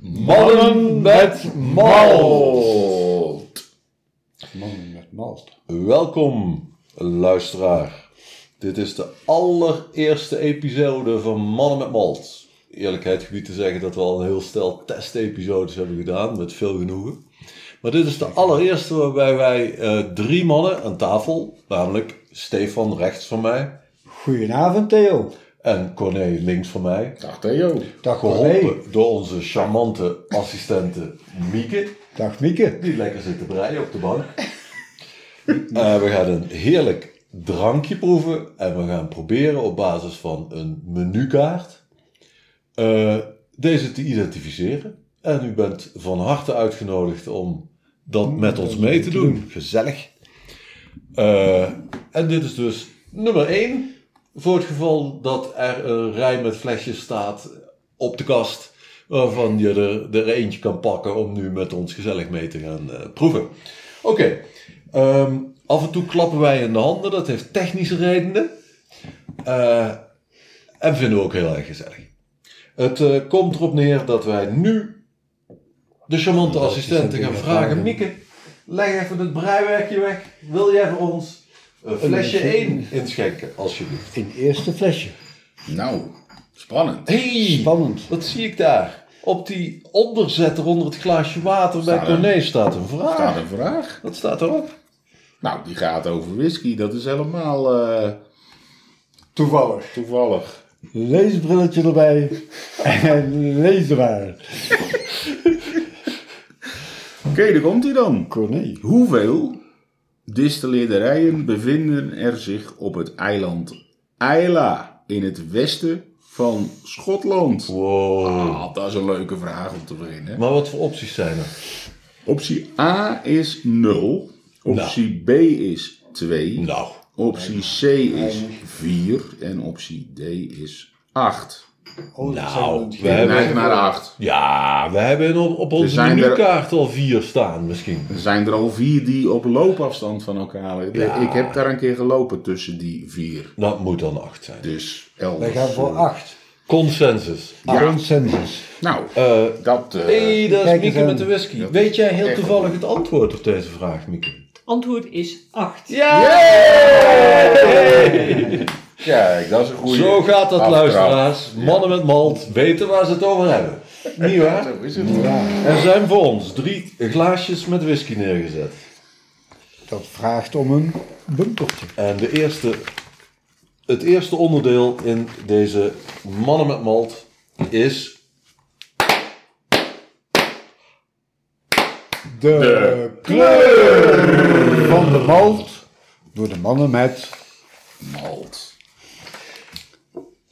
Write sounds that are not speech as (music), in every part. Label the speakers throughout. Speaker 1: Mannen met malt.
Speaker 2: Mannen met malt.
Speaker 1: Welkom, luisteraar. Dit is de allereerste episode van Mannen met malt. Eerlijkheid gebied te zeggen dat we al een heel stel testepisodes hebben gedaan, met veel genoegen. Maar dit is de allereerste waarbij wij eh, drie mannen aan tafel, namelijk Stefan rechts van mij
Speaker 2: Goedenavond Theo.
Speaker 1: en Corné links van mij,
Speaker 3: Dag Theo.
Speaker 2: Dag Corné.
Speaker 1: geholpen door onze charmante assistente Mieke. (laughs)
Speaker 2: Dag Mieke.
Speaker 1: Die lekker zitten breien op de bank. Eh, we gaan een heerlijk drankje proeven. En we gaan proberen op basis van een menukaart eh, deze te identificeren. En u bent van harte uitgenodigd om dat met ons mee te doen. Gezellig. Eh, en dit is dus nummer 1. Voor het geval dat er een rij met flesjes staat op de kast. Waarvan je er, er eentje kan pakken om nu met ons gezellig mee te gaan eh, proeven. Oké, ehm, af en toe klappen wij in de handen. Dat heeft technische redenen. Eh, en vinden we ook heel erg gezellig. Het eh, komt erop neer dat wij nu de charmante
Speaker 2: De
Speaker 1: assistenten gaan
Speaker 2: assistenten gaan
Speaker 1: vragen.
Speaker 2: vragen.
Speaker 1: Mieke, leg even het breiwerkje weg. Wil jij voor ons een flesje
Speaker 2: flesje.
Speaker 1: 1 inschenken, alsjeblieft?
Speaker 2: In eerste flesje.
Speaker 3: Nou, spannend.
Speaker 1: Hey,
Speaker 2: Spannend.
Speaker 1: wat zie ik daar? Op die onderzetter onder het glaasje water bij
Speaker 3: Staat er-
Speaker 1: Corné staat een vraag.
Speaker 3: Staat een vraag.
Speaker 1: Wat staat erop?
Speaker 3: Nou, die gaat over whisky. Dat is helemaal eh,
Speaker 2: Toevallig.
Speaker 3: toevallig.
Speaker 2: Leesbrilletje erbij. (laughs) en leesbaar.
Speaker 3: Oké, daar komt hij dan.
Speaker 2: Corné.
Speaker 3: Hoeveel distilleerderijen bevinden er zich op het eiland Isla in het westen van Schotland?
Speaker 1: Wow.
Speaker 3: Ah, dat is een leuke vraag om te beginnen.
Speaker 1: Maar wat voor opties zijn er?
Speaker 3: Optie A is 0. Optie B is 2.
Speaker 1: Nou,
Speaker 3: Optie C is 4. En optie D is 8.
Speaker 2: Oh, dat zijn
Speaker 1: nou,
Speaker 2: we-
Speaker 1: we
Speaker 3: Neig
Speaker 1: hebben,
Speaker 3: naar 8.
Speaker 1: ja, we hebben op, op onze
Speaker 3: zijn er-
Speaker 1: menukaart al vier staan misschien.
Speaker 3: Er zijn er al vier die op loopafstand van elkaar liggen.
Speaker 1: Ja.
Speaker 3: Ik heb daar een keer gelopen tussen die vier.
Speaker 1: Dat moet dan acht zijn.
Speaker 3: Dus elders.
Speaker 2: Wij gaan voor
Speaker 3: eh,
Speaker 2: acht.
Speaker 1: Consensus.
Speaker 3: Ja.
Speaker 2: Consensus.
Speaker 3: Nou,
Speaker 1: Eh
Speaker 3: dat... eh,
Speaker 1: hey, daar is
Speaker 2: Kijk eens
Speaker 1: Mieke
Speaker 2: aan.
Speaker 1: met de whisky.
Speaker 3: Dat
Speaker 1: Weet
Speaker 3: is
Speaker 1: jij heel
Speaker 3: echt
Speaker 1: toevallig het antwoord op deze vraag, Mieke?
Speaker 4: Antwoord is 8.
Speaker 1: Ja!
Speaker 3: Kijk, dat is een goede
Speaker 1: Zo gaat dat,
Speaker 3: aftrap.
Speaker 1: luisteraars. Mannen met malt weten waar ze het over hebben. Niet waar?
Speaker 3: Zo is het.
Speaker 2: Ja,
Speaker 1: Er zijn voor ons drie glaasjes met whisky neergezet.
Speaker 2: dat vraagt om een bumpertje.
Speaker 1: En de eerste, het eerste onderdeel in deze Mannen met Malt is
Speaker 2: De, kleur van de malt door de mannen met
Speaker 3: Malt.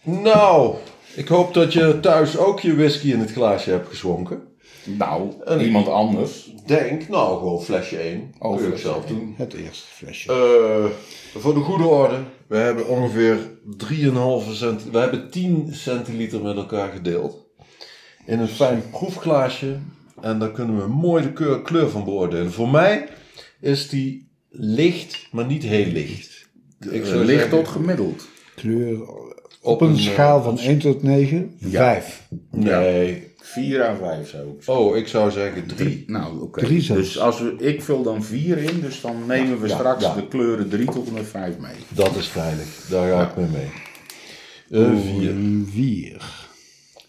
Speaker 1: Nou, ik hoop dat je thuis ook je whisky in het glaasje hebt geschonken.
Speaker 3: Nou, iemand anders.
Speaker 1: Denk, nou, gewoon flesje 1. Kun je ook zelf doen.
Speaker 2: het eerste flesje.
Speaker 1: Eh, voor de goede orde, we hebben ongeveer 3,5 cent. We hebben 10 centiliter met elkaar gedeeld. In een fijn proefglaasje. En daar kunnen we mooi de keur- kleur van beoordelen. Voor mij is die licht, maar niet heel licht. Ik
Speaker 3: Eh,
Speaker 1: zou
Speaker 3: licht
Speaker 1: zeggen-
Speaker 3: tot gemiddeld.
Speaker 2: Kleur op een
Speaker 1: een, eh,
Speaker 2: schaal van 1 tot 9, 5.
Speaker 1: Nee.
Speaker 3: 4 aan 5 zo.
Speaker 1: Oh, ik zou zeggen 3.
Speaker 3: Nou, oké.
Speaker 2: Drie zelfs.
Speaker 3: Dus als we, ik vul dan 4 in, dus dan nemen we
Speaker 1: Ja,
Speaker 3: straks
Speaker 1: ja.
Speaker 3: de kleuren 3 tot en met 5 mee.
Speaker 1: Dat is veilig. Daar ga ik mee mee. Eh, vier.
Speaker 2: 4.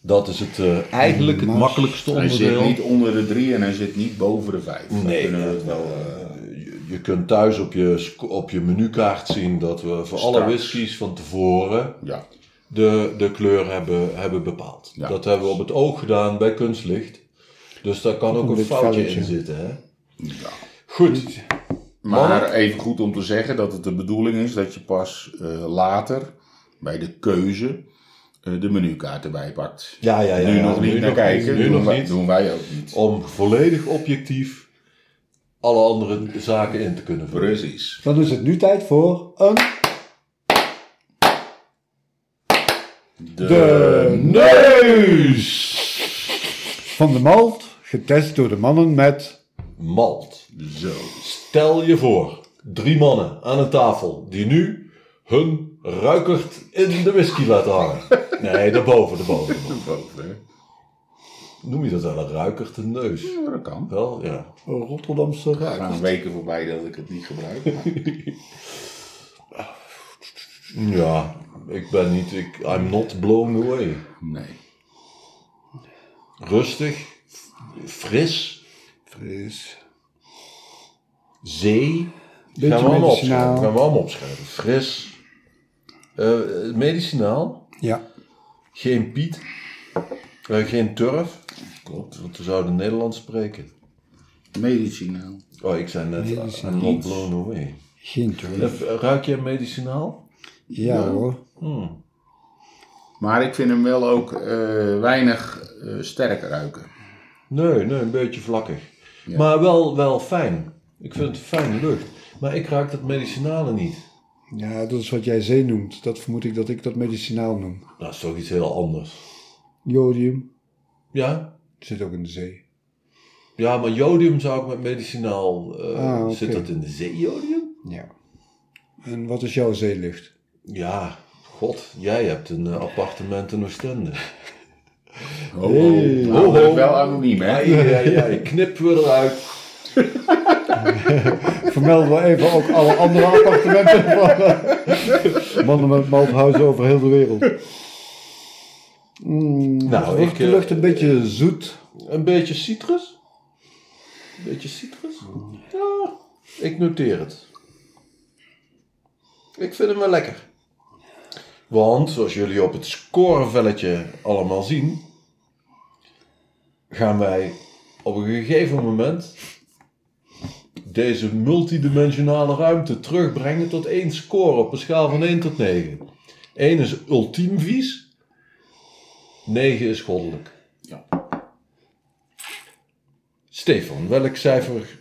Speaker 1: Dat is het, eh, eigenlijk het
Speaker 2: Mas-
Speaker 1: makkelijkste
Speaker 3: Hij zit
Speaker 1: onderdeel.
Speaker 3: niet onder de 3 en hij zit niet boven de 5.
Speaker 1: Nee,
Speaker 3: kunnen we het wel. eh,
Speaker 1: Je, je kunt thuis op je, sc- op je menukaart zien dat we voor alle
Speaker 3: Straks.
Speaker 1: whiskies van tevoren
Speaker 3: ja.
Speaker 1: de, de kleur hebben, hebben bepaald.
Speaker 3: Ja.
Speaker 1: Dat hebben we op het oog gedaan bij kunstlicht. Dus daar kan ook
Speaker 2: Een
Speaker 1: een
Speaker 2: wit
Speaker 1: foutje
Speaker 2: velletje.
Speaker 1: in zitten. Hè? Goed.
Speaker 3: Maar even goed om te zeggen dat het de bedoeling is dat je pas eh, later bij de keuze eh, de menukaart erbij pakt.
Speaker 1: Ja, ja, ja.
Speaker 3: nu
Speaker 1: ja.
Speaker 3: nog niet naar kijken,
Speaker 1: Nu
Speaker 3: doen,
Speaker 1: nog
Speaker 3: wij,
Speaker 1: niet.
Speaker 3: doen wij ook niet.
Speaker 1: Om volledig objectief alle andere zaken in te kunnen vullen.
Speaker 3: Precies.
Speaker 2: Dan is het nu tijd voor een...
Speaker 3: De,
Speaker 2: neus! Van de malt, getest door de mannen met...
Speaker 1: Malt.
Speaker 3: Zo.
Speaker 1: Stel je voor, drie mannen aan een tafel die nu hun ruikert in de whisky laten hangen. Nee, daarboven, daarboven. daarboven.
Speaker 3: Boven, hè?
Speaker 1: noem je dat wel, een ruiker te neus?
Speaker 3: Ja, dat kan.
Speaker 1: Wel, ja.
Speaker 2: Een Rotterdamse
Speaker 3: Er
Speaker 2: ruiker.
Speaker 3: gaan weken voorbij dat ik het niet gebruik. maar-
Speaker 1: Ja, ik ben niet, ik, I'm not blown away.
Speaker 3: (laughs) nee.
Speaker 1: Rustig, fris,
Speaker 2: Fris.
Speaker 1: zee.
Speaker 2: Beetje
Speaker 1: gaan we allemaal
Speaker 2: medicinaal.
Speaker 1: opschrijven. Gaan we allemaal opschrijven. Fris, eh, medicinaal,
Speaker 2: Ja.
Speaker 1: geen piet, eh, geen turf.
Speaker 3: Klopt.
Speaker 1: Want we zouden Nederlands spreken.
Speaker 3: Medicinaal.
Speaker 1: Oh, ik zei net,
Speaker 2: Medicinaal.
Speaker 1: I'm not blown away.
Speaker 2: Geen turf.
Speaker 1: Eh, Ruik je medicinaal?
Speaker 2: Ja hoor.
Speaker 3: Maar ik vind hem wel ook eh, weinig eh, sterk ruiken.
Speaker 1: Nee, nee, een beetje vlakkig.
Speaker 3: Ja.
Speaker 1: Maar wel, wel fijn. Ik vind het fijn lucht. Maar ik ruik dat medicinale niet.
Speaker 2: Ja, dat is wat jij zee noemt. Dat vermoed ik dat ik dat medicinaal noem.
Speaker 1: Dat is toch iets heel anders.
Speaker 2: Jodium
Speaker 1: Ja?
Speaker 2: zit ook in de zee.
Speaker 1: Ja, maar jodium zou ik met medicinaal... eh,
Speaker 2: Ah, oké.
Speaker 1: Zit dat in de zee, jodium?
Speaker 2: Ja. En wat is jouw zeelucht?
Speaker 1: Ja, god. Jij hebt een eh, appartement in Oostende.
Speaker 3: Ho, ho. Nou,
Speaker 1: Ho,
Speaker 3: ben
Speaker 1: ho.
Speaker 3: ik wel anoniem, hè?
Speaker 1: Ai, ai, ai, knip we eruit.
Speaker 2: Vermeld wel even ook alle andere appartementen (laughs) van eh, mannen met malthuizen over heel de wereld. Mm,
Speaker 1: Nou,
Speaker 2: nou, ik,
Speaker 1: ik,
Speaker 2: de
Speaker 1: eh,
Speaker 2: lucht een beetje zoet.
Speaker 1: Een beetje citrus? Een beetje citrus? Ja, ik noteer het. Ik vind hem wel lekker. Want, zoals jullie op het scorevelletje allemaal zien, gaan wij op een gegeven moment deze multidimensionale ruimte terugbrengen tot één score op een schaal van 1 tot 9. 1 is ultiem vies, 9 is goddelijk. Stefan, welk cijfer,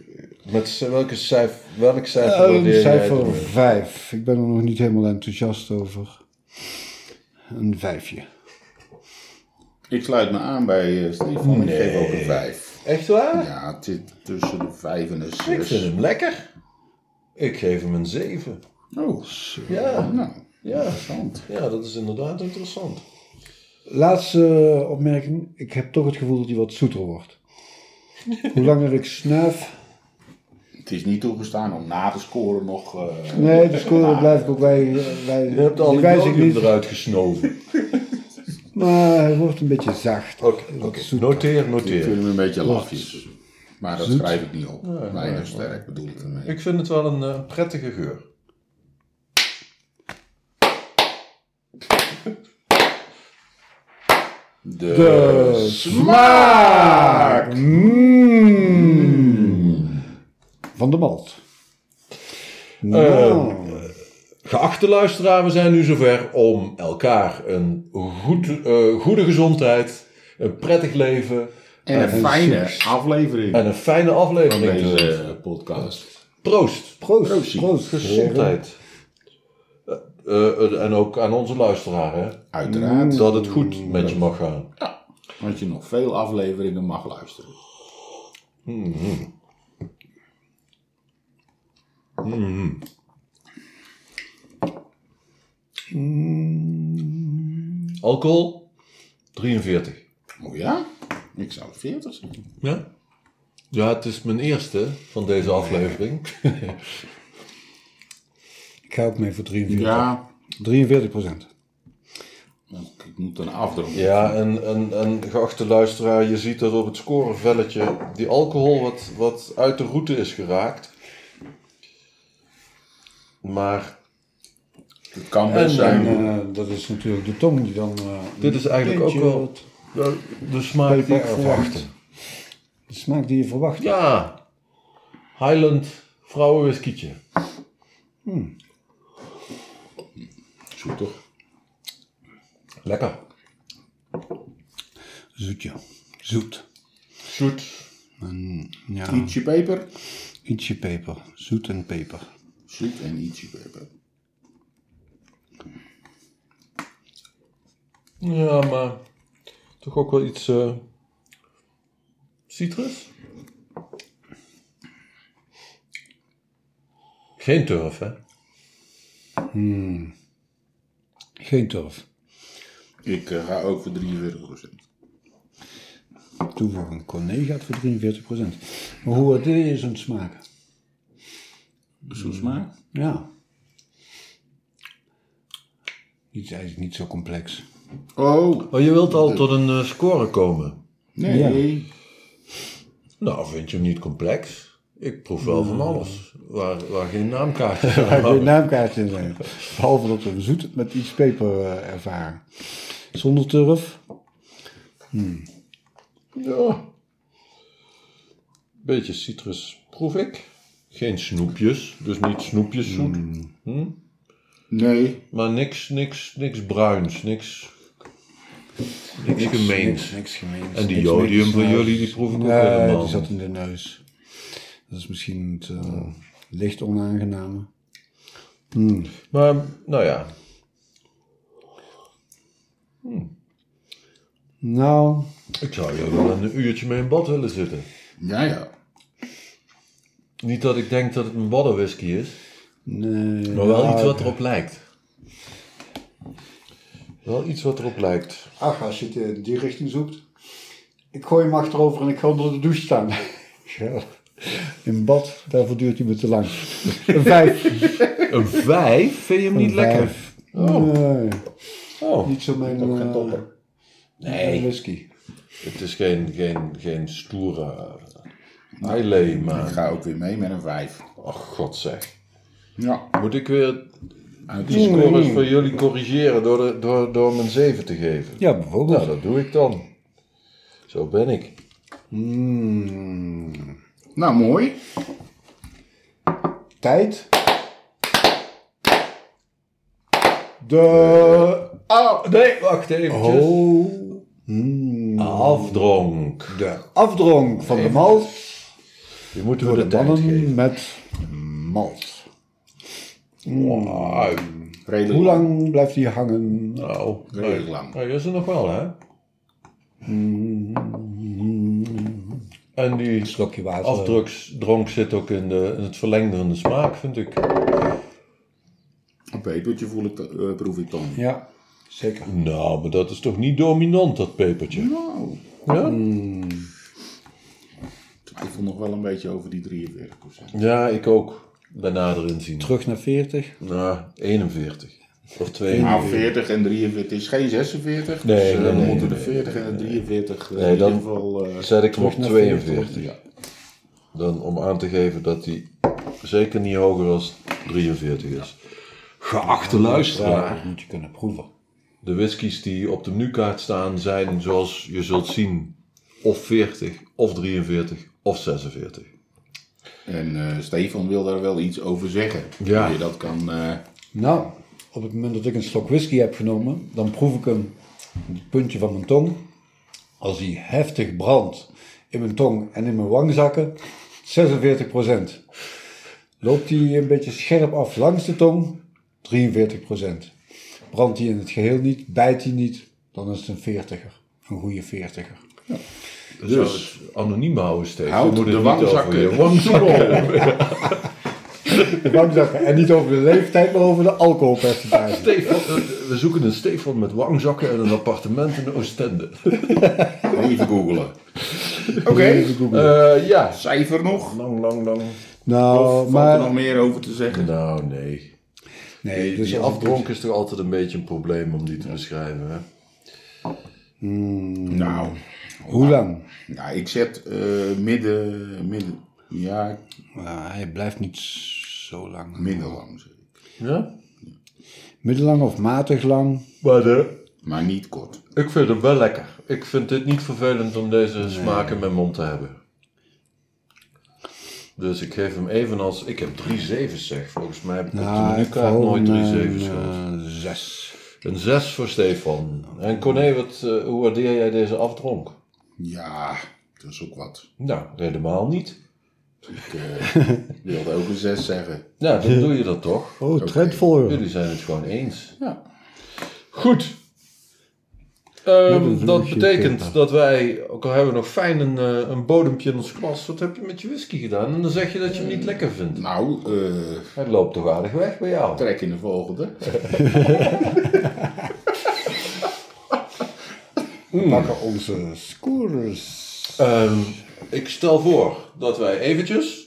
Speaker 1: met c- welke cijfer, welk cijfer
Speaker 2: Een
Speaker 1: waardeer jij het
Speaker 2: Ehm, cijfer
Speaker 1: meest?
Speaker 2: 5. Ik ben er nog niet helemaal enthousiast over. Een vijfje.
Speaker 3: Ik sluit me aan bij eh Stefan. Ik geef ook een 5.
Speaker 1: Echt waar?
Speaker 3: Ja, het zit tussen de 5 en de
Speaker 1: Ik vind
Speaker 3: 6.
Speaker 1: hem lekker. Ik geef hem een 7.
Speaker 3: Oh,
Speaker 1: Ja,
Speaker 3: nou,
Speaker 1: ja,
Speaker 3: interessant.
Speaker 1: ja, dat is inderdaad interessant.
Speaker 2: Laatste opmerking. Ik heb toch het gevoel dat hij wat zoeter wordt. Hoe langer ik snuif.
Speaker 3: Het is niet toegestaan om na te scoren nog. eh,
Speaker 2: Nee, de score
Speaker 3: na-
Speaker 2: blijf ik ook bij. eh, bij
Speaker 1: Je hebt al
Speaker 2: die
Speaker 1: die
Speaker 2: wijs ik
Speaker 1: jodium
Speaker 2: niet.
Speaker 1: eruit
Speaker 2: (laughs)
Speaker 1: gesnoven.
Speaker 2: Maar hij wordt een beetje zacht.
Speaker 1: Oké,
Speaker 2: Wat
Speaker 1: oké.
Speaker 2: zoeter.
Speaker 1: noteer,
Speaker 3: Ik vind
Speaker 1: noteer.
Speaker 3: hem een beetje lafjes. Maar dat schrijf ik niet op. Weinig sterk bedoel ik ermee.
Speaker 1: Ik vind het wel een eh, prettige geur.
Speaker 3: De,
Speaker 2: smaak.
Speaker 1: Hmm.
Speaker 2: Hmm. Van de malt.
Speaker 1: Eh,
Speaker 2: Nou,
Speaker 1: Geachte luisteraar, we zijn nu zover om elkaar een goed, eh, goede gezondheid, een prettig leven
Speaker 3: en een fijne aflevering
Speaker 1: en een fijne
Speaker 3: van
Speaker 1: aflevering te wensen.
Speaker 3: deze podcast.
Speaker 1: Proost.
Speaker 2: proost,
Speaker 3: Proost.
Speaker 2: proost,
Speaker 1: Gezondheid. Eh, eh, eh, en ook aan onze luisteraar, hè?
Speaker 3: Uiteraard.
Speaker 1: Dat het goed met je mag gaan.
Speaker 3: Want je nog veel afleveringen mag luisteren.
Speaker 1: Alcohol? 43.
Speaker 3: Oh ja? Ik zou 40 zeggen.
Speaker 1: Ja? Ja, het is mijn eerste van deze aflevering.
Speaker 2: Ik ga ook mee voor 43.
Speaker 3: Ja,
Speaker 2: 43 procent.
Speaker 3: want ik moet een afdronken.
Speaker 1: (laughs) Ja, en, en, en geachte luisteraar, je ziet dat op het scorevelletje die alcohol wat, wat uit de route is geraakt. Maar
Speaker 3: Het kan
Speaker 1: En,
Speaker 3: best zijn.
Speaker 2: En eh, dat is natuurlijk de tong die dan... eh,
Speaker 1: Dit is eigenlijk
Speaker 2: een
Speaker 1: ook
Speaker 2: beetje
Speaker 1: wel- de, de smaak die ik verwachtte.
Speaker 2: De smaak die je verwacht.
Speaker 1: Ja, Highland Hmm. vrouwenwhiskietje.
Speaker 3: Zoet toch?
Speaker 1: Lekker.
Speaker 2: Zoetje. Zoet.
Speaker 1: Zoet.
Speaker 2: Ja.
Speaker 3: Ietsje peper.
Speaker 2: Ietsje peper. Zoet en peper.
Speaker 3: Zoet en ietsje peper.
Speaker 1: Ja, maar toch ook wel iets eh, citrus. Geen turf, hè?
Speaker 2: Geen turf.
Speaker 3: Ik eh, ga ook voor 43 procent.
Speaker 2: toevoegen. Een Cornet gaat voor 43%. Maar hoe het dit is een smaak.
Speaker 3: Zo'n smaak.
Speaker 2: Ja. Niet, eigenlijk niet zo complex.
Speaker 3: Oh,
Speaker 1: Oh, je wilt al tot een eh, score komen.
Speaker 3: nee.
Speaker 1: Nou, vind je hem niet complex? Ik proef wel van alles. Waar, waar geen (laughs) naamkaartjes
Speaker 2: Daar
Speaker 1: aan
Speaker 2: ga ik weer
Speaker 1: hangen.
Speaker 2: naamkaartjes in zijn. Behalve dat we hem zoet met iets peper eh, ervaren. Zonder turf.
Speaker 1: Ja. Beetje citrus proef ik. Geen snoepjes, dus niet snoepjes zoet.
Speaker 2: Mm.
Speaker 3: Nee.
Speaker 1: Maar niks, niks, niks bruins, niks, niks,
Speaker 2: Niks,
Speaker 1: gemeens.
Speaker 2: niks gemeens.
Speaker 1: En die
Speaker 2: Niks
Speaker 1: jodium
Speaker 2: niks
Speaker 1: van
Speaker 2: gemeens.
Speaker 1: jullie, die proef ik ook
Speaker 2: Nee,
Speaker 1: helemaal
Speaker 2: die zat
Speaker 1: niet.
Speaker 2: in de neus. Dat is misschien het eh, licht onaangename.
Speaker 1: Maar, nou ja.
Speaker 2: Nou,
Speaker 1: Ik zou hier wel een uurtje mee in bad willen zitten.
Speaker 3: Ja, ja.
Speaker 1: Niet dat ik denk dat het een waddenwhisky is,
Speaker 2: nee.
Speaker 1: maar wel
Speaker 2: nou,
Speaker 1: iets wat erop lijkt. Wel iets wat erop lijkt.
Speaker 2: Ach, als je het in die richting zoekt. Ik gooi hem achterover en ik ga onder de douche staan. (laughs) Ja. In bad, daarvoor duurt hij me te lang. Een vijf.
Speaker 1: Een vijf vind je hem niet
Speaker 2: Een
Speaker 1: lekker?
Speaker 2: vijf. Nee,
Speaker 1: Oh,
Speaker 2: niet zo mijn...
Speaker 3: Ook geen
Speaker 2: eh,
Speaker 3: topper.
Speaker 2: mijn whisky.
Speaker 1: het is geen, geen, geen stoere Islay,
Speaker 3: Ik
Speaker 1: maar...
Speaker 3: ga ook weer mee met een 5.
Speaker 1: Ach, god zeg.
Speaker 3: Ja.
Speaker 1: Moet ik weer
Speaker 3: Uit
Speaker 1: die scores van jullie corrigeren door, de, door, door hem een 7 te geven?
Speaker 2: Ja, bijvoorbeeld.
Speaker 1: Nou, dat doe ik dan. Zo ben ik.
Speaker 2: Hmm.
Speaker 3: Nou, mooi.
Speaker 2: Tijd. De...
Speaker 1: Oh, nee, wacht even.
Speaker 2: Oh. Hmm.
Speaker 1: Afdronk.
Speaker 2: De afdronk van de malt
Speaker 1: Je moet
Speaker 2: door
Speaker 1: weer de
Speaker 2: de
Speaker 1: tijd geven.
Speaker 2: mannen met malt.
Speaker 1: Wow.
Speaker 3: Redelijk.
Speaker 2: Hoe lang blijft die hangen?
Speaker 1: Nou,
Speaker 3: Redelijk lang.
Speaker 1: Nou, is er nog wel, hè? En die
Speaker 2: Slokje water.
Speaker 1: afdruksdronk zit ook in, de, in het verlengde van de smaak, vind ik.
Speaker 3: Een pepertje voel ik, eh, proef ik dan.
Speaker 2: Ja, zeker.
Speaker 1: Nou, maar dat is toch niet dominant, dat pepertje?
Speaker 3: Nou,
Speaker 1: Ja?
Speaker 3: ik twijfel nog wel een beetje over die 43%.
Speaker 1: Ja, ik ook. Bij nader inzien.
Speaker 2: Terug naar 40.
Speaker 1: Nou, 41. Of 42.
Speaker 3: Nou, 40 en 43 is geen 46.
Speaker 1: Nee,
Speaker 3: dus eh,
Speaker 1: nee,
Speaker 3: we
Speaker 1: nee,
Speaker 3: moeten
Speaker 1: nee,
Speaker 3: de 40 en de 43 eh,
Speaker 1: Nee,
Speaker 3: in
Speaker 1: dan-
Speaker 3: ieder geval... eh,
Speaker 1: Zet ik hem op
Speaker 2: Terug naar 40.
Speaker 1: 42. Dan om aan te geven dat hij zeker niet hoger als 43 is. Geachte luisteraar.
Speaker 2: dat moet je kunnen proeven.
Speaker 1: De whiskies die op de menukaart staan zijn, zoals je zult zien, of 40, of 43, of 46.
Speaker 3: En eh, Stefan wil daar wel iets over zeggen.
Speaker 1: Ja.
Speaker 3: Hoe je dat kan... eh,
Speaker 2: Nou, op het moment dat ik een slok whisky heb genomen, dan proef ik hem op het puntje van mijn tong. Als hij heftig brandt in mijn tong en in mijn wangzakken, 46 Loopt hij een beetje scherp af langs de tong, 43 Brandt hij in het geheel niet, bijt hij niet, dan is het een 40er. Een goede 40er.
Speaker 1: Dus, dus anoniem houden steeds.
Speaker 3: Houd
Speaker 1: Je moet
Speaker 3: de
Speaker 1: het niet
Speaker 3: wangzakken.
Speaker 1: over je wangzakken.
Speaker 2: De wangzakken. En niet over de leeftijd, maar over de (laughs) alcoholpercentage.
Speaker 1: Stefan, eh, we zoeken een Stefan met wangzakken en een appartement in Oostende.
Speaker 3: Even googelen. Oké.
Speaker 1: Eh, ja.
Speaker 3: Cijfer nog?
Speaker 1: Lang, lang, lang.
Speaker 3: Of
Speaker 2: Nou,
Speaker 3: valt er nog
Speaker 2: maar...
Speaker 3: meer over te zeggen?
Speaker 1: Nou, nee.
Speaker 2: Nee,
Speaker 1: Die, die
Speaker 2: als ik-
Speaker 1: afdronk is toch altijd een beetje een probleem om die te beschrijven, hè?
Speaker 3: Nou,
Speaker 2: Hoe lang?
Speaker 3: nou ik zet eh, midden, midden... Ja,
Speaker 2: Nou, hij blijft niet zo lang.
Speaker 3: minder lang zeg ik.
Speaker 1: Ja?
Speaker 2: Middellang of matig lang.
Speaker 1: Maar de...
Speaker 3: Maar niet kort.
Speaker 1: Ik vind hem wel lekker. Ik vind dit niet vervelend om deze smaak in mijn mond te hebben. Dus ik geef hem evenals... Ik heb drie zevens zeg. Volgens mij heb Nou, ik eh, op de menukaart nooit drie zevens gehad.
Speaker 2: eh, zes.
Speaker 1: Een zes voor Stefan. En Corné, wat, eh, hoe waardeer jij deze afdronk?
Speaker 3: Ja, dat is ook wat.
Speaker 1: Nou, helemaal niet.
Speaker 3: Ik eh,
Speaker 1: (laughs)
Speaker 3: wilde ook een 6 zeggen.
Speaker 1: Nou, (laughs) dan doe je dat toch.
Speaker 2: Oh, trendvolger.
Speaker 1: Jullie zijn het gewoon eens.
Speaker 3: Ja.
Speaker 1: Goed.
Speaker 2: Met een
Speaker 1: Ehm, dat
Speaker 2: vloesje
Speaker 1: betekent
Speaker 2: peper.
Speaker 1: dat wij, ook al hebben we nog fijn een, eh, een bodempje in ons glas, wat heb je met je whisky gedaan? En dan zeg je dat je hem niet lekker vindt.
Speaker 3: Nou, eh,
Speaker 1: Het loopt toch aardig weg bij jou?
Speaker 3: trek in de volgende.
Speaker 2: We pakken onze scores.
Speaker 1: Ehm, ik stel voor dat wij eventjes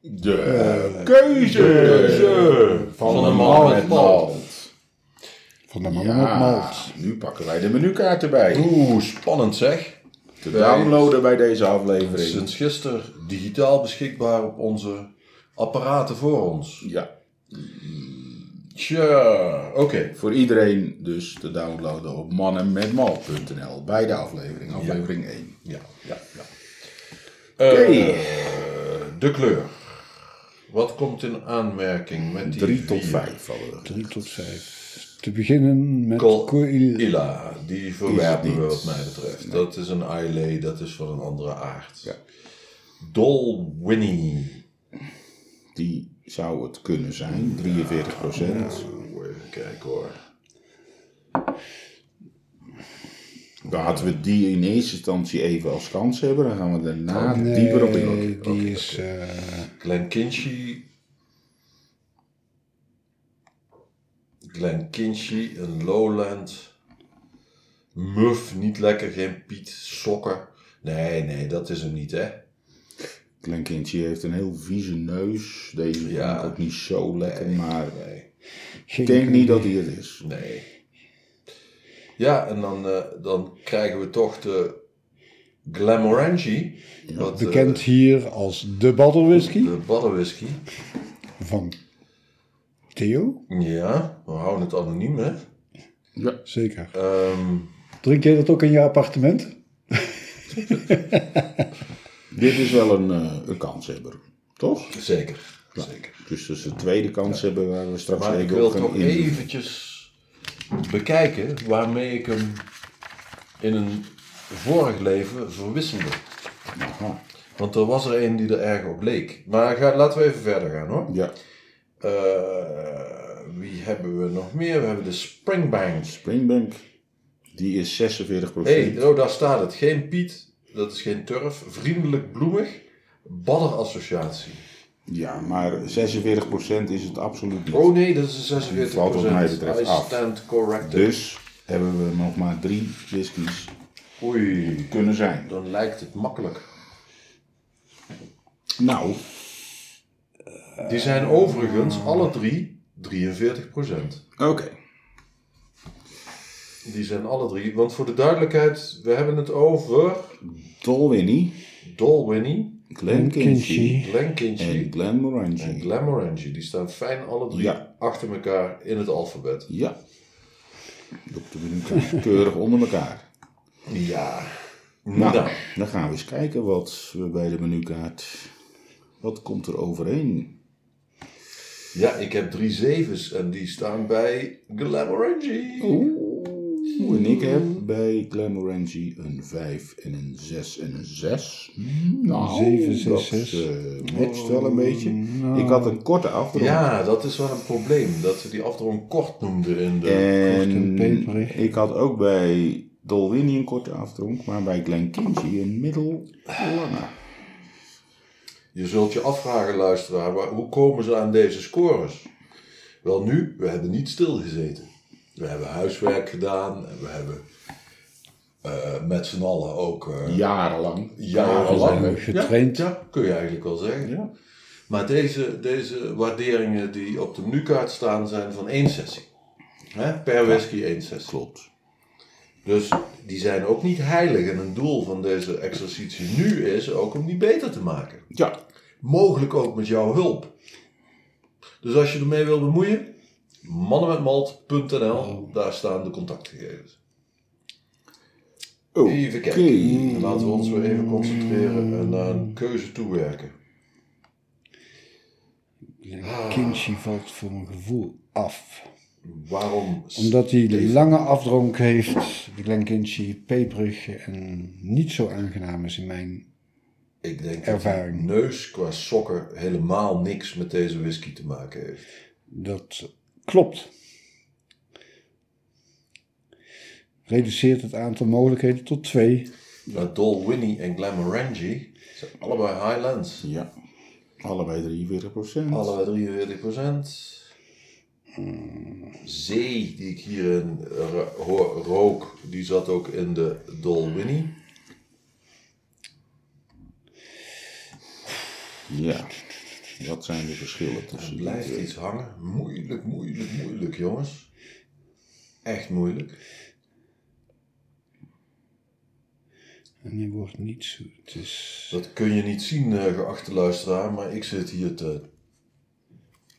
Speaker 1: de keuze van een man met malt.
Speaker 2: Van de mannen met
Speaker 3: Ja,
Speaker 2: malt.
Speaker 3: nu pakken wij de menukaart erbij.
Speaker 1: Oeh, spannend zeg.
Speaker 3: Te downloaden bij deze aflevering.
Speaker 1: Sinds gisteren digitaal beschikbaar op onze apparaten voor ons.
Speaker 3: Ja,
Speaker 1: Tja, oké.
Speaker 3: voor iedereen dus te downloaden op mannenmetmal.nl. Bij de aflevering, aflevering 1.
Speaker 1: Ja, ja, ja. Eh,
Speaker 3: Oké.
Speaker 1: de kleur. Wat komt in aanmerking met die
Speaker 3: 3 tot
Speaker 1: vier?
Speaker 3: 5 hadden we.
Speaker 2: 3 tot 5. Te beginnen met
Speaker 1: Kol-
Speaker 2: koil.
Speaker 1: Ila, die verwerpen
Speaker 3: Is
Speaker 1: we
Speaker 3: het
Speaker 1: wat
Speaker 3: niet.
Speaker 1: mij betreft. Dat is een Islay, dat is van een andere aard.
Speaker 3: Ja.
Speaker 1: Dol Winnie.
Speaker 3: Die zou het kunnen zijn, 43
Speaker 1: Oeh, even kijken hoor.
Speaker 3: Laten we die in eerste instantie even als kans hebben. Dan gaan we
Speaker 1: Oh,
Speaker 3: daarna dieper op in.
Speaker 2: Nee, die is eh,
Speaker 1: Glenkinchie. Glenkinchie, een lowland. Muf, niet lekker, geen Piet, sokken. Nee, nee, dat is hem niet, hè?
Speaker 3: Klenkindje heeft een heel vieze neus. Deze
Speaker 1: Ja.
Speaker 3: vind ik ook niet zo lekker, maar
Speaker 1: Nee,
Speaker 2: geen
Speaker 3: ik denk niet dat hij het is.
Speaker 1: nee. Ja, en dan, eh, dan krijgen we toch de Glamorangie. wat, eh,
Speaker 2: Bekend hier als de badderwhisky
Speaker 1: de baddenwhisky.
Speaker 2: van Theo.
Speaker 1: Ja, we houden het anoniem, hè?
Speaker 3: Ja.
Speaker 2: Zeker.
Speaker 1: Ehm,
Speaker 2: Drink jij dat ook in je appartement?
Speaker 3: Dit is wel een, eh, een kanshebber, toch?
Speaker 1: zeker, zeker.
Speaker 3: Dus dat is de tweede kanshebber waar we straks
Speaker 1: Maar ik
Speaker 3: even
Speaker 1: wil
Speaker 3: op gaan
Speaker 1: toch
Speaker 3: in-
Speaker 1: eventjes bekijken waarmee ik hem in een vorig leven verwisselde.
Speaker 3: Aha.
Speaker 1: Want er was er een die er erg op leek. Maar ga, laten we even verder gaan hoor.
Speaker 3: Ja,
Speaker 1: Eh, wie hebben we nog meer? We hebben de Springbank.
Speaker 3: Springbank. Die is 46
Speaker 1: Hé, hey, oh, daar staat het. Geen Piet, dat is geen turf. Vriendelijk bloemig. Badderassociatie.
Speaker 3: Ja, maar 46 is het absoluut niet.
Speaker 1: Oh nee, dat is een 46%.
Speaker 3: Valt wat mij betreft
Speaker 1: I
Speaker 3: af.
Speaker 1: stand corrected.
Speaker 3: Dus hebben we nog maar drie whiskies
Speaker 1: Oei,
Speaker 3: kunnen zijn.
Speaker 1: dan lijkt het makkelijk.
Speaker 3: Nou, Eh,
Speaker 1: Die zijn overigens alle drie 43
Speaker 3: oké.
Speaker 1: Die zijn alle drie, want voor de duidelijkheid, we hebben het over
Speaker 3: Tolwinnie,
Speaker 1: Dolwinnie,
Speaker 3: Glen Kinchy
Speaker 1: Glenkinchie
Speaker 3: en
Speaker 1: en,
Speaker 3: Glen Morangi.
Speaker 1: Glamorangie. Die staan fijn alle drie
Speaker 3: Ja.
Speaker 1: achter elkaar in het alfabet.
Speaker 3: Ja. Op de menukaart. (laughs) Keurig onder elkaar.
Speaker 1: Ja.
Speaker 3: Nou,
Speaker 1: Nou,
Speaker 3: dan gaan we eens kijken wat we bij de menukaart... Wat komt er overheen?
Speaker 1: ja, ik heb drie zevens en die staan bij Glamorangie.
Speaker 3: Oeh, en ik heb bij Glamorangi een 5 en een 6 en een 6. Nou,
Speaker 2: Zeven, zes,
Speaker 3: dat
Speaker 2: zes.
Speaker 3: eh, matcht wel een beetje. Ik had een korte afdruk.
Speaker 1: Ja, dat is wel een probleem, dat ze die afdrong kort noemden in de...
Speaker 2: Kort en
Speaker 3: En
Speaker 2: peperig.
Speaker 3: ik had ook bij Dolwini een korte afdronk, maar bij Glen Kinchy een middellange.
Speaker 1: Je zult je afvragen, luisteraar, waar- hoe komen ze aan deze scores? Wel nu, we hebben niet stilgezeten. We hebben huiswerk gedaan en we hebben eh, met z'n allen ook eh,
Speaker 3: Jarenlang.
Speaker 1: jarenlang
Speaker 2: we getraind.
Speaker 1: Ja, ja, kun je eigenlijk wel zeggen.
Speaker 3: Ja.
Speaker 1: Maar deze, deze waarderingen die op de menukaart staan, zijn van één sessie. Hè? Per whisky één sessie. Klopt. Dus die zijn ook niet heilig. En een doel van deze exercitie nu is ook om die beter te maken
Speaker 3: Ja,
Speaker 1: mogelijk ook met jouw hulp. Dus als je ermee wil bemoeien, mannenmetmalt.nl, daar staan de contactgegevens.
Speaker 3: Oké.
Speaker 1: Even kijken. Laten we ons weer even concentreren en naar een keuze toewerken.
Speaker 2: Kinchy valt voor mijn gevoel af.
Speaker 1: Waarom?
Speaker 2: Omdat hij lange afdronk heeft, de Glenkinchy, peperig en niet zo aangenaam is in mijn...
Speaker 1: Ik denk
Speaker 2: Ervaring.
Speaker 1: dat die neus qua sokken helemaal niks met deze whisky te maken heeft.
Speaker 2: Dat klopt. Reduceert het aantal mogelijkheden tot twee.
Speaker 1: Maar Dol Winnie en Glamorangie zijn allebei Highlands.
Speaker 3: Ja. Allebei 43 procent.
Speaker 1: Allebei 43 procent. zee die ik hierin ro- hoor- rook, die zat ook in de Dolwini.
Speaker 3: Ja. Wat zijn de verschillen tussen die
Speaker 1: Blijft
Speaker 3: twee?
Speaker 1: iets hangen. Moeilijk, moeilijk, moeilijk, jongens. Echt moeilijk.
Speaker 2: En hij wordt niet zo. Het is.
Speaker 1: Dat kun je niet zien, eh, geachte luisteraar, maar ik zit hier te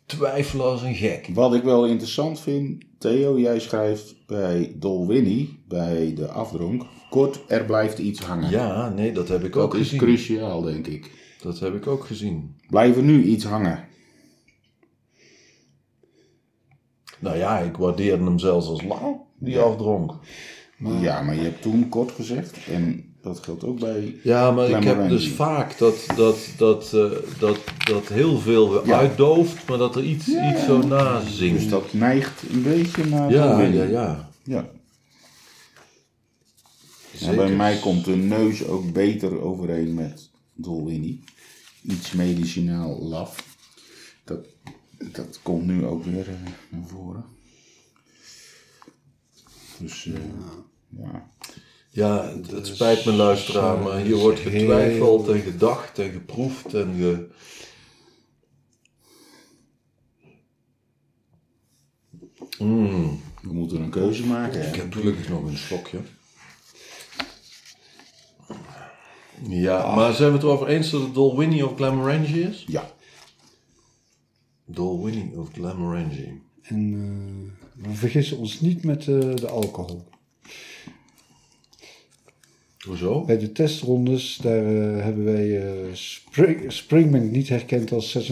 Speaker 1: twijfelen als een gek.
Speaker 3: Wat ik wel interessant vind, Theo, jij schrijft bij Dolwinny, bij de afdronk, kort, er blijft iets hangen.
Speaker 1: Ja, nee, dat heb ik ook
Speaker 3: dat is
Speaker 1: gezien.
Speaker 3: cruciaal, denk ik.
Speaker 1: Dat heb ik ook gezien.
Speaker 3: Blijven nu iets hangen.
Speaker 1: Nou ja, ik waardeerde hem zelfs als lang, die afdronk.
Speaker 3: Ja, maar je hebt toen kort gezegd, en dat geldt ook bij...
Speaker 1: Ja, maar ik heb
Speaker 3: Glamorangi.
Speaker 1: dus vaak dat, dat, dat, eh, dat, dat heel veel weer
Speaker 3: Ja.
Speaker 1: uitdooft, maar dat er iets, iets zo nazingt.
Speaker 3: Dus dat neigt een beetje naar
Speaker 1: ja,
Speaker 3: Dolwinny.
Speaker 1: ja, ja.
Speaker 3: ja. En
Speaker 1: Zeker.
Speaker 3: bij mij komt de neus ook beter overeen met Dolwinny. Iets medicinaal laf. Dat, dat komt nu ook weer eh, naar voren. Dus eh, ja.
Speaker 1: Ja, het, het spijt me luisteraar, maar hier wordt getwijfeld en gedacht en geproefd en ge...
Speaker 3: we moeten een keuze maken. hè.
Speaker 1: Ik heb gelukkig nog een slokje. Ja, maar zijn we het erover eens dat het Dolwinny of Glamorangi is?
Speaker 3: Ja.
Speaker 1: Dolwinny of Glamorangi.
Speaker 2: En eh, we vergissen ons niet met eh, de alcohol.
Speaker 1: Hoezo?
Speaker 2: Bij de testrondes daar, eh, hebben wij eh, Spring, Springbank niet herkend als 46%.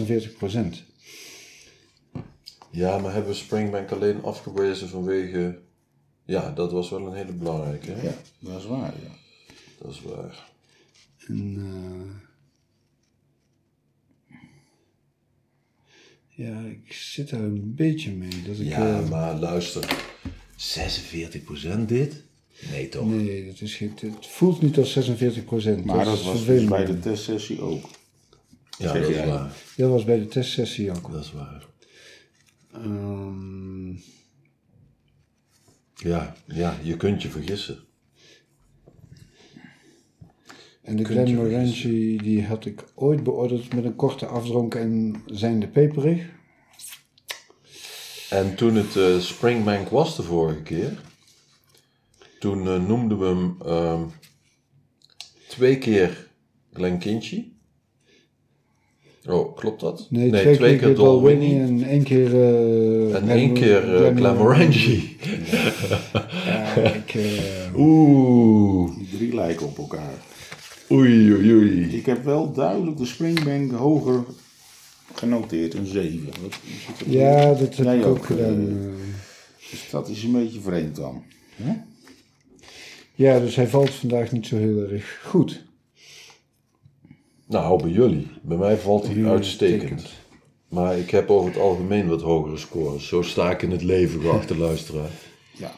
Speaker 1: Ja, maar hebben we Springbank alleen afgewezen vanwege... Ja, dat was wel een hele belangrijke. hè?
Speaker 3: ja, dat is waar. Ja.
Speaker 1: Dat is waar.
Speaker 2: En, eh, ja, ik zit daar een beetje mee. Dat ik,
Speaker 1: Ja,
Speaker 2: eh,
Speaker 1: maar luister. 46% dit? Nee toch?
Speaker 2: Nee, dat is geen, het voelt niet als 46 procent.
Speaker 3: Maar dat
Speaker 2: is
Speaker 3: was dus
Speaker 2: vervelend.
Speaker 3: bij de testsessie ook.
Speaker 1: Ja,
Speaker 3: Zeg
Speaker 1: dat is
Speaker 3: jij.
Speaker 1: waar.
Speaker 2: Dat was bij de testsessie ook.
Speaker 1: Dat is waar.
Speaker 2: Ehm,
Speaker 1: Ja, ja, je kunt je vergissen.
Speaker 2: en de
Speaker 1: Kunt je
Speaker 2: Glenmorangie die had ik ooit beoordeeld met een korte afdronk en zijnde peperig.
Speaker 1: En toen het eh, Springbank was de vorige keer, toen eh, noemden we hem ehm, twee keer Glenkinchie. Oh, klopt dat?
Speaker 2: Nee, twee, keer, Dalwhinnie en één keer... eh,
Speaker 1: en één
Speaker 2: Glenmor-
Speaker 1: keer eh,
Speaker 2: Glenmor-
Speaker 1: Glamorangi.
Speaker 2: Ja, ik, eh,
Speaker 1: Oeh,
Speaker 3: Die drie lijken op elkaar.
Speaker 1: oei, oei, oei.
Speaker 3: Ik heb wel duidelijk de springbank hoger genoteerd, een 7. Wat is het ook
Speaker 2: ja, dat heb
Speaker 3: Jij
Speaker 2: ik ook,
Speaker 3: ook,
Speaker 2: gedaan.
Speaker 3: eh,
Speaker 2: eh.
Speaker 3: Dus dat is een beetje vreemd dan. Hè?
Speaker 2: ja, dus hij valt vandaag niet zo heel erg goed.
Speaker 1: Nou, bij jullie. Bij mij valt hij
Speaker 2: jullie
Speaker 1: uitstekend.
Speaker 2: uitstekend.
Speaker 1: Maar ik heb over het algemeen wat hogere scores. Zo sta ik in het leven,
Speaker 2: (laughs)
Speaker 1: geachte luisteraar.
Speaker 3: Ja.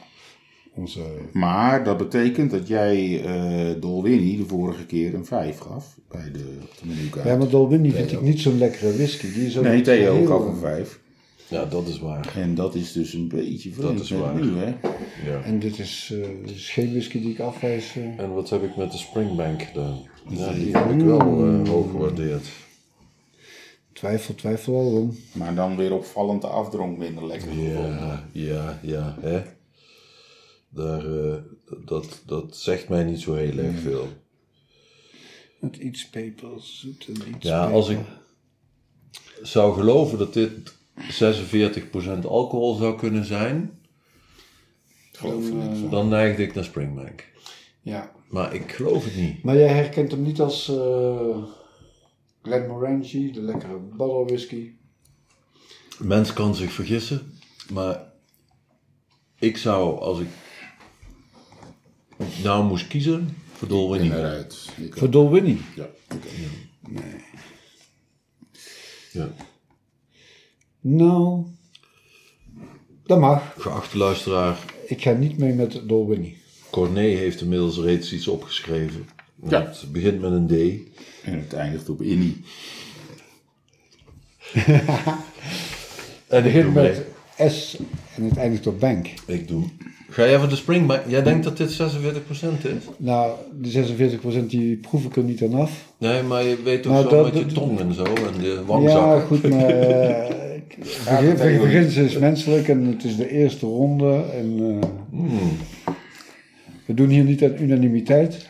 Speaker 2: Onze...
Speaker 3: Maar dat betekent dat jij eh Dolwinny de vorige keer een 5 gaf bij de, op de menukaart.
Speaker 2: Ja, maar Dalwhinnie vind ik niet zo'n lekkere whisky. Die is ook
Speaker 3: Nee,
Speaker 2: niet
Speaker 3: Theo
Speaker 2: heel-
Speaker 3: gaf een 5.
Speaker 1: Ja, dat is waar.
Speaker 3: En dat is dus een beetje vreemd
Speaker 1: Dat is
Speaker 3: met
Speaker 1: waar.
Speaker 3: nu, hè?
Speaker 1: Ja.
Speaker 2: En dit is, eh, dit is geen whisky die ik afwijs. eh.
Speaker 1: En wat heb ik met de Springbank gedaan? Ja, die heb ik wel eh, hoog gewaardeerd.
Speaker 2: Twijfel, twijfel al om.
Speaker 3: Maar dan weer opvallend de afdronk minder lekker gevonden.
Speaker 1: Ja, ja, ja, hè. Daar, eh, dat, dat zegt mij niet zo heel erg veel.
Speaker 2: Met iets pepers, zoet en iets
Speaker 1: Ja, als ik zou geloven dat dit 46% alcohol zou kunnen zijn,
Speaker 3: Ik geloof er niks van.
Speaker 1: dan neigde ik naar Springbank.
Speaker 2: Ja.
Speaker 1: Maar ik geloof het niet.
Speaker 2: Maar jij herkent hem niet als eh Glenmorangie, de lekkere bottle whisky.
Speaker 1: Mens kan zich vergissen, maar ik zou, als ik nou moest kiezen, voor Dolwinnie.
Speaker 3: Eruit. Ik-
Speaker 2: Voor Dolwinnie.
Speaker 3: Ja, oké.
Speaker 1: Ja.
Speaker 2: Nou, dat mag.
Speaker 1: Geachte luisteraar,
Speaker 2: Ik ga niet mee met Dolwinnie.
Speaker 1: Corné heeft inmiddels reeds iets opgeschreven.
Speaker 3: Ja.
Speaker 1: Het begint met een D.
Speaker 3: En het eindigt op Innie.
Speaker 1: En ik doe
Speaker 2: Begin met
Speaker 1: mee.
Speaker 2: S en het eindigt op bank.
Speaker 1: Ik doe. Ga jij voor de spring, maar jij denkt dat dit 46% is?
Speaker 2: Nou, die 46% die proef ik er niet aan af.
Speaker 1: Nee, maar je weet toch
Speaker 2: Nou,
Speaker 1: zo
Speaker 2: dat-
Speaker 1: met je
Speaker 2: dat-
Speaker 1: tong en zo en de
Speaker 2: Ja,
Speaker 1: wangzakken.
Speaker 2: goed,
Speaker 3: (laughs)
Speaker 2: maar eh, begin-
Speaker 3: ben je
Speaker 2: beginsel is dus menselijk en het is de eerste ronde. En, eh,
Speaker 3: Hmm.
Speaker 2: We doen hier niet aan unanimiteit.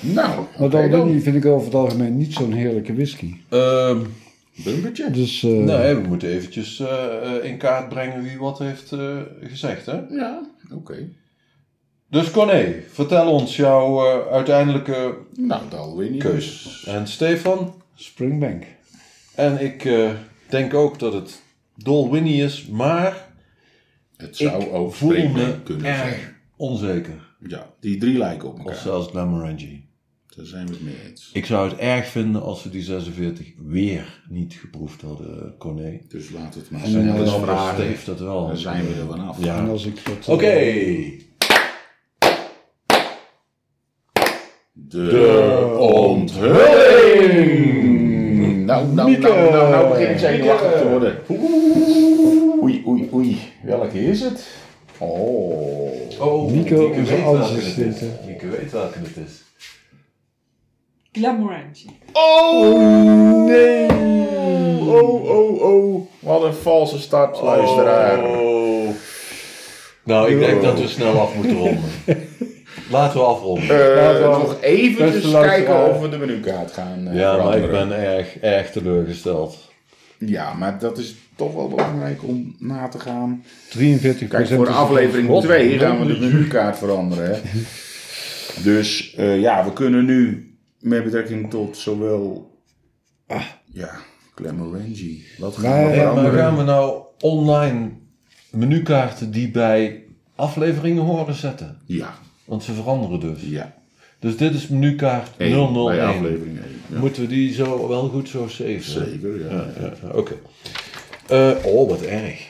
Speaker 3: Nou,
Speaker 2: Maar
Speaker 3: oké
Speaker 2: dan,
Speaker 3: dan.
Speaker 2: vind ik over het algemeen niet zo'n heerlijke whisky.
Speaker 1: Ehm, bumpertje.
Speaker 2: Dus eh,
Speaker 1: Nee, we moeten eventjes eh, eh, in kaart brengen wie wat heeft eh, gezegd, hè?
Speaker 3: Ja, oké.
Speaker 1: Dus Corné, vertel ons jouw eh, uiteindelijke
Speaker 3: Nou, dan weer niet.
Speaker 1: keus. En Stefan,
Speaker 2: Springbank.
Speaker 1: en ik eh, denk ook dat het Dolwinnie is, maar
Speaker 3: Het zou
Speaker 1: ik
Speaker 3: ook
Speaker 1: voel
Speaker 3: Springbank
Speaker 1: me
Speaker 3: kunnen zijn.
Speaker 1: erg onzeker.
Speaker 3: Ja, die drie lijken op
Speaker 1: Of
Speaker 3: elkaar.
Speaker 1: zelfs Glamorangi.
Speaker 3: Daar zijn we het mee eens.
Speaker 1: Ik zou het erg vinden als we die 46 weer niet geproefd hadden, Corné.
Speaker 3: Dus laat het maar
Speaker 1: En
Speaker 3: zijn.
Speaker 1: dan
Speaker 3: Dat is
Speaker 1: anders
Speaker 3: vragen.
Speaker 1: heeft dat wel.
Speaker 3: Daar zijn we er vanaf.
Speaker 1: Ja.
Speaker 2: En als ik dat, eh,
Speaker 1: Oké.
Speaker 3: De, onthulling! Nou, nou, nou, nou, nou begin ik zenuwachtig te worden. Oei, oei, oei. Welke is het? Oh.
Speaker 1: Oh,
Speaker 2: Nico,
Speaker 1: Nieke
Speaker 2: onze
Speaker 1: weet welke het is.
Speaker 2: assistente.
Speaker 1: Nieke weet welke het is.
Speaker 4: Glamorantje.
Speaker 3: Oh! Nee! Oh, oh, oh. Wat een valse start, luisteraar.
Speaker 1: Oh. Nou, ik denk dat we snel af moeten
Speaker 3: (laughs)
Speaker 1: ronden. Laten we afronden.
Speaker 3: Eh,
Speaker 2: Laten we-
Speaker 3: nog eventjes
Speaker 2: beste luisteraar.
Speaker 3: kijken of we de menukaart gaan eh,
Speaker 1: ja, maar ik
Speaker 3: veranderen.
Speaker 1: ben erg, erg teleurgesteld.
Speaker 3: Ja, maar dat is toch wel belangrijk om na te gaan.
Speaker 2: 43
Speaker 3: Kijk, voor
Speaker 2: is-
Speaker 3: aflevering
Speaker 1: God,
Speaker 3: 2 gaan we
Speaker 1: donder-
Speaker 3: de menukaart veranderen. Hè. Dus eh, ja, we kunnen nu met betrekking tot zowel. Ah, Ja, Glamorangi. Wat gaan
Speaker 1: Hey,
Speaker 2: Nee,
Speaker 3: we
Speaker 1: maar
Speaker 3: veranderen?
Speaker 1: gaan we nou online menukaarten die bij afleveringen horen zetten?
Speaker 3: Ja,
Speaker 1: Want ze veranderen dus.
Speaker 3: ja.
Speaker 1: Dus dit is menukaart
Speaker 3: Eén, bij
Speaker 1: 001.
Speaker 3: aflevering 1.
Speaker 1: Moeten we die zo wel goed zo zeven?
Speaker 3: Zeker, ja.
Speaker 1: Oké. Eh, oh, wat erg.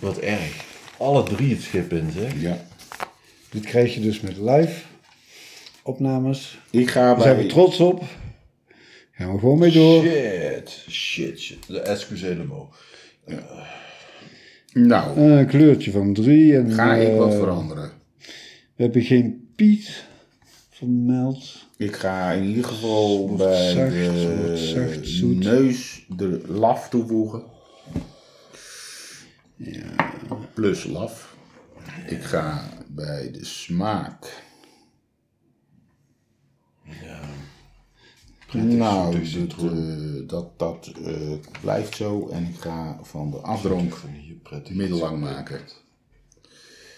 Speaker 1: Wat erg. Alle drie het schip in, zeg.
Speaker 3: ja.
Speaker 2: Dit krijg je dus met live opnames.
Speaker 3: Ik ga
Speaker 2: Daar zijn we
Speaker 3: bij...
Speaker 2: trots op. Gaan we gewoon mee door.
Speaker 1: Shit, shit, shit. De excuse mo.
Speaker 3: Nou,
Speaker 2: Eh, een kleurtje van drie. En,
Speaker 3: ga ik
Speaker 2: eh,
Speaker 3: wat veranderen.
Speaker 2: We hebben geen Piet van Meld.
Speaker 3: Ik ga in ieder geval bij
Speaker 2: zacht, wordt
Speaker 3: de
Speaker 2: zacht, zoet.
Speaker 3: neus de laf toevoegen. Plus laf. Ik ga bij de smaak. nou,
Speaker 1: zoetig, zoet,
Speaker 3: dat, eh, dat, dat eh, blijft zo. En ik ga van de afdronk
Speaker 1: Van hier prettig.
Speaker 3: middellang maken.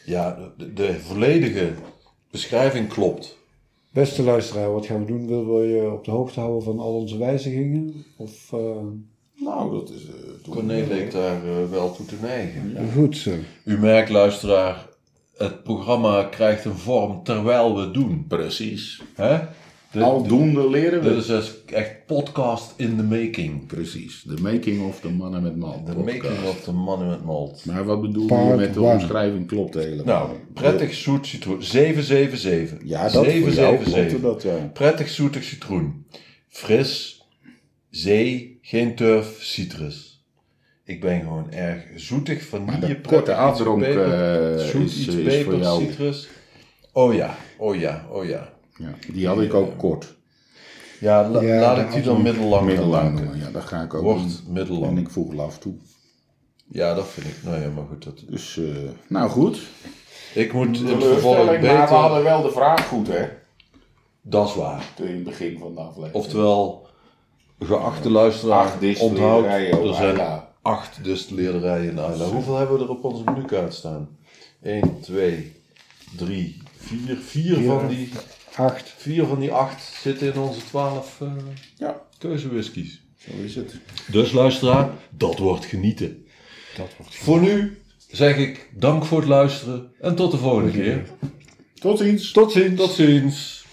Speaker 1: Ja, de, de volledige beschrijving klopt.
Speaker 2: Beste luisteraar, wat gaan we doen? Willen we je op de hoogte houden van al onze wijzigingen? Of, eh,
Speaker 3: Nou, dat is... eh, doen
Speaker 1: Corné
Speaker 3: we.
Speaker 1: leek daar eh, wel toe te neigen.
Speaker 2: Goed zo.
Speaker 1: U merkt, luisteraar, het programma krijgt een vorm terwijl we het doen.
Speaker 3: Precies.
Speaker 1: Hè? Dit,
Speaker 3: Aldoende leren we.
Speaker 1: dit is dus echt podcast in the making.
Speaker 3: Precies. De making of de mannen met man.
Speaker 1: The making of the monument malt.
Speaker 3: Maar wat bedoel je
Speaker 2: Part
Speaker 3: met de
Speaker 2: one.
Speaker 3: omschrijving? Klopt helemaal.
Speaker 1: Nou, prettig zoet citroen. 777.
Speaker 3: Ja, dat voor jou klopte
Speaker 1: 777.
Speaker 3: dat, ja.
Speaker 1: Prettig zoetig citroen. Fris, zee, geen turf, citrus. Ik ben gewoon erg zoetig, vanille,
Speaker 3: Maar de
Speaker 1: prettig,
Speaker 3: korte
Speaker 1: iets
Speaker 3: afdronk
Speaker 1: peper,
Speaker 3: eh,
Speaker 1: zoet,
Speaker 3: is,
Speaker 1: iets
Speaker 3: eh, is
Speaker 1: peper,
Speaker 3: voor jou.
Speaker 1: citrus. Oh ja, oh ja, oh ja.
Speaker 3: Ja, die had ik ook kort.
Speaker 1: Ja, la-
Speaker 2: Ja,
Speaker 1: laat
Speaker 2: de
Speaker 1: ik die dan middellang
Speaker 3: Middellang
Speaker 1: maken.
Speaker 3: noemen, ja, dat ga ik ook
Speaker 1: Wordt
Speaker 3: doen. En
Speaker 1: middellang.
Speaker 3: ik voeg laf toe.
Speaker 1: Ja, dat vind ik. Nou ja, maar goed. Dat...
Speaker 3: Dus, eh, nou goed.
Speaker 1: Ik moet in het vervolg
Speaker 3: maar we
Speaker 1: beter...
Speaker 3: hadden wel de vraag goed, hè?
Speaker 1: Dat is waar.
Speaker 3: In het begin van de aflevering.
Speaker 1: Oftewel, geachte luisteraar,
Speaker 3: Acht
Speaker 1: onthoud,
Speaker 3: distilleerderijen op
Speaker 1: er zijn
Speaker 3: Ayla.
Speaker 1: acht distilleerderijen in Ayla. Hoeveel hebben we er op onze menukaart staan? 1, 2, 3, 4. Vier van die,
Speaker 2: Acht.
Speaker 1: vier van die acht zitten in onze 12 eh
Speaker 3: Ja,
Speaker 1: keuzewhiskies.
Speaker 3: zo is het.
Speaker 1: Dus luisteraar, dat wordt genieten.
Speaker 2: Dat wordt
Speaker 1: Voor nu zeg ik dank voor het luisteren en tot de volgende keer.
Speaker 3: Tot ziens.
Speaker 1: Tot ziens. Tot ziens.